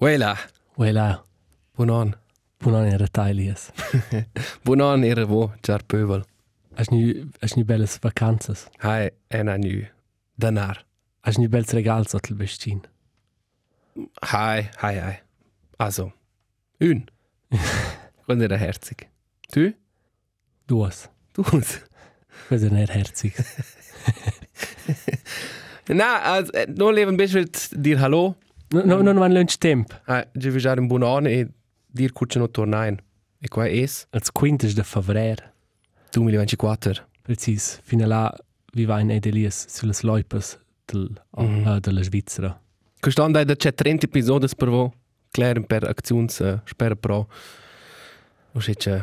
Voilà, Voilà, buon buon era Thailand. Buon era vo, jar pövel. Hast du hast du belles Vakanzas? Hai, ena nü. Danar. Hast du belles Regals auf dem Bestin? Hai, hai, hai. Also, ün. Und era herzig. Du? Du hast. Du? Das ist nicht herzig. Na, also, eh, no leben bis wird dir hallo. Ah, No, no, no, man lernt Temp. Hai, je vi jar in buon an e dir kutsche no tornain. E qua es Als Quintes de Favrer. 2024. Präzis. Finalà viva in Edelias sulle Leupes del, Mhm. äh, della Svizzera. Quest'an dai da c'è 30 episodes per vo. Claren per actions, uh, spera pro. O se c'è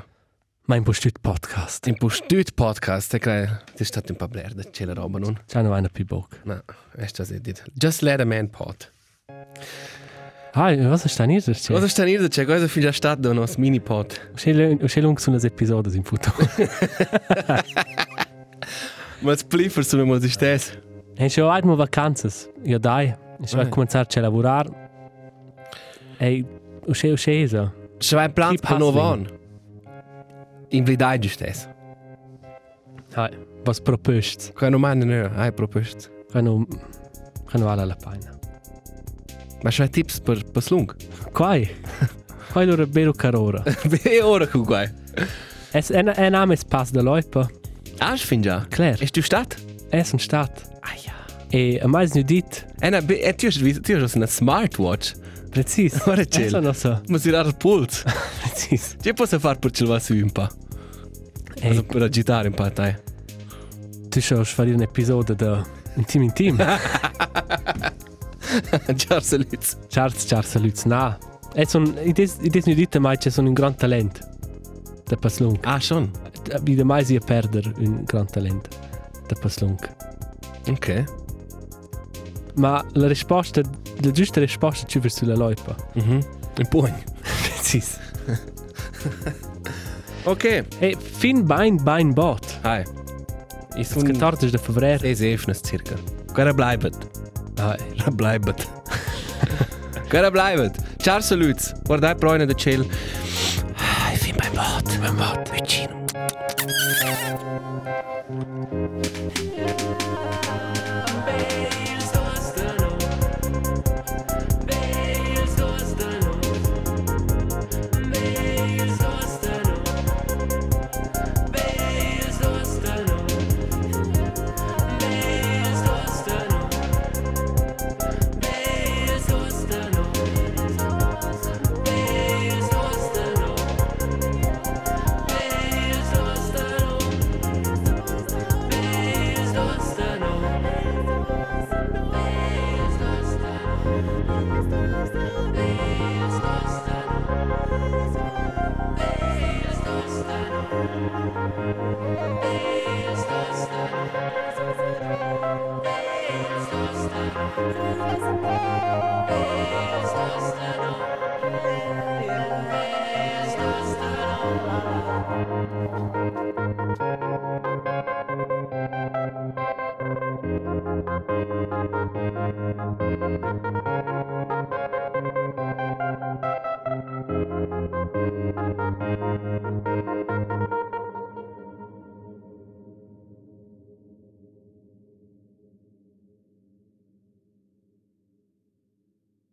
Mein Postüt Podcast. un po' stüt podcast, e crei, c'è stato un po' blerde, c'è la roba, non? Ciao, noch einer Pibok. Na, echt das edit. Just let a man pot. Hi, was ist denn hier? Was Was ist denn hier? Check, also viel Stadt da noch Mini Pot. ist denn so eine Episode im Futur? Mal spliffers so mal sich das. Hai schon einmal Vakanzas? Ja, dai. Ich Ah, werde ja. kommenzar a lavorare. Hey, usche usche so. Schwei Plan Keep hustling. Panovan. Im Blidai just das. Hai, was propost? Keine Meinung, no ne? Hai propost. Quando quando vale la pena. Ma schwei Tipps per per slung. Quai. Quai loro bero carora. Be ora ku guai. Es en en ames pass da loipa. Ach find ja. Claire. Ist du Stadt? Es en stat. Ah ja. E a mais nu dit. Ena be et just wie du hast eine Smartwatch. Precis. Ora chill. Esa no so. Muss ihr ar Puls. Precis. Je posso far per cel vasu un pa. Hey, Also per agitare un pa tai. E, tu schon schwari un episodio da intim intim. Charles Charles Charles Lutz na. Es un ides ides nu dit mai che sono un gran talent. Da paslung. Ah schon. Bi da mai si a perder un gran talent. Da paslung. Okay. Ma la risposta, la giusta risposta ci verso la loipa. Mhm. Ein Point. Precis. Okay. Hey, E fin bein bein bot. Hi. Ich Das bin Katartisch der Febrer. Es öffnet circa. Gara bleibet. Ah, Gara bleibet. Gara bleibet. Ciao Lutz. Guardai Bräune der Chill. Ich bin beim Bad. Beim Bad. Vicino. Thank you.